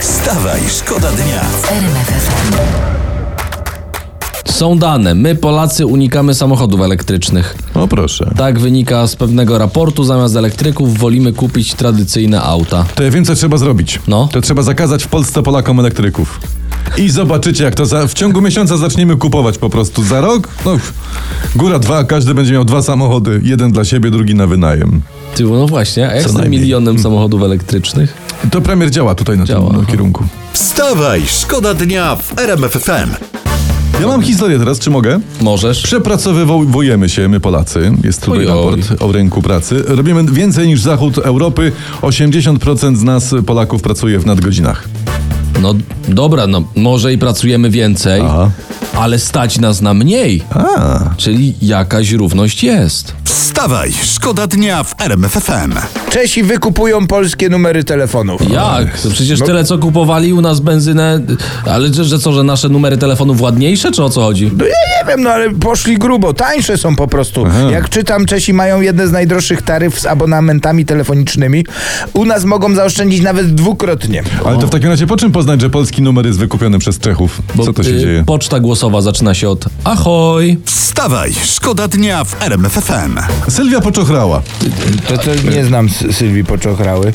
Wstawaj, szkoda dnia. Są dane. My, Polacy, unikamy samochodów elektrycznych. O No proszę. Tak wynika z pewnego raportu. Zamiast elektryków wolimy kupić tradycyjne auta. To ja wiem, co trzeba zrobić. No. To trzeba zakazać w Polsce Polakom elektryków. I zobaczycie, jak to za, w ciągu miesiąca zaczniemy kupować po prostu. Za rok, no, góra dwa, każdy będzie miał dwa samochody. Jeden dla siebie, drugi na wynajem. Ty, no właśnie, a jak Co z tym najmniej. milionem samochodów elektrycznych? To premier działa tutaj na Działa, tym aha. kierunku. Wstawaj, szkoda dnia w RMF FM. Ja mam historię teraz, czy mogę? Możesz. Przepracowywujemy się, my Polacy. Jest tutaj Oj, oj. raport o rynku pracy. Robimy więcej niż zachód Europy. 80% z nas, Polaków, pracuje w nadgodzinach. No dobra, no może i pracujemy więcej, Aha. ale stać nas na mniej. A, Czyli jakaś równość jest. Wstawaj, szkoda dnia w RMF FM. Czesi wykupują polskie numery telefonów. Jak? To przecież tyle, co kupowali u nas benzynę. Ale że, że co, że nasze numery telefonów ładniejsze, czy o co chodzi? No ja nie wiem, no ale poszli grubo, tańsze są po prostu. Jak czytam, Czesi mają jedne z najdroższych taryf z abonamentami telefonicznymi. U nas mogą zaoszczędzić nawet dwukrotnie. ale to w takim razie po czym poznać, że polski numer jest wykupiony przez Czechów? Co to się y, dzieje? Poczta głosowa zaczyna się od ahoj. Wstawaj, szkoda dnia w RMF FM. Sylwia poczochrała. To, to nie znam Sy- Sylwii Poczochrały.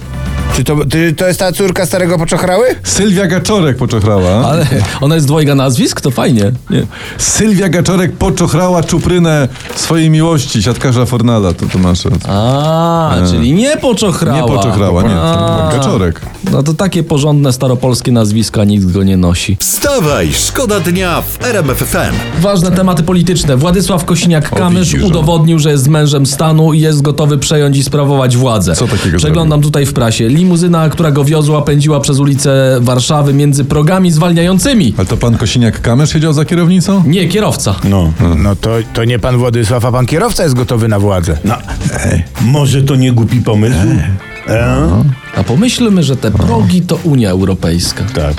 Czy to, ty, to jest ta córka starego Poczochrały? Sylwia Gaczorek poczochrała. Ale ona jest dwojga nazwisk? To fajnie. Nie. Sylwia Gaczorek poczochrała czuprynę swojej miłości, siatkarza Fornala, to Tomasz. A, czyli nie poczochrała. Nie poczochrała, nie. A. Gaczorek. No to takie porządne staropolskie nazwiska, nikt go nie nosi. Wstawaj, szkoda dnia w RMF FM. Ważne tematy polityczne. Władysław O, Kosiniak-Kamysz widzisz, udowodnił, że jest mężem stanu i jest gotowy przejąć i sprawować władzę. Co takiego Przeglądam tutaj w prasie. Limuzyna, która go wiozła, pędziła przez ulice Warszawy między progami zwalniającymi. Ale to pan Kosiniak-Kamysz siedział za kierownicą? Nie, kierowca. No, No to, to nie pan Władysław, a pan kierowca jest gotowy na władzę. no. Może to nie głupi pomysł? E? A pomyślmy, że te progi to Unia Europejska, Tak.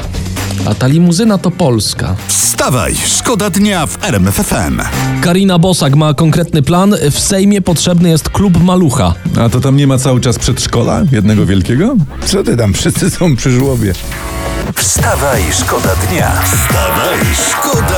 a ta limuzyna to Polska. Wstawaj, szkoda dnia w RMF FM. Karina Bosak ma konkretny plan. W Sejmie potrzebny jest klub Malucha. A to tam nie ma cały czas przedszkola? Jednego wielkiego? Co ty tam? Wszyscy są przy żłobie. Wstawaj, szkoda dnia. Wstawaj, szkoda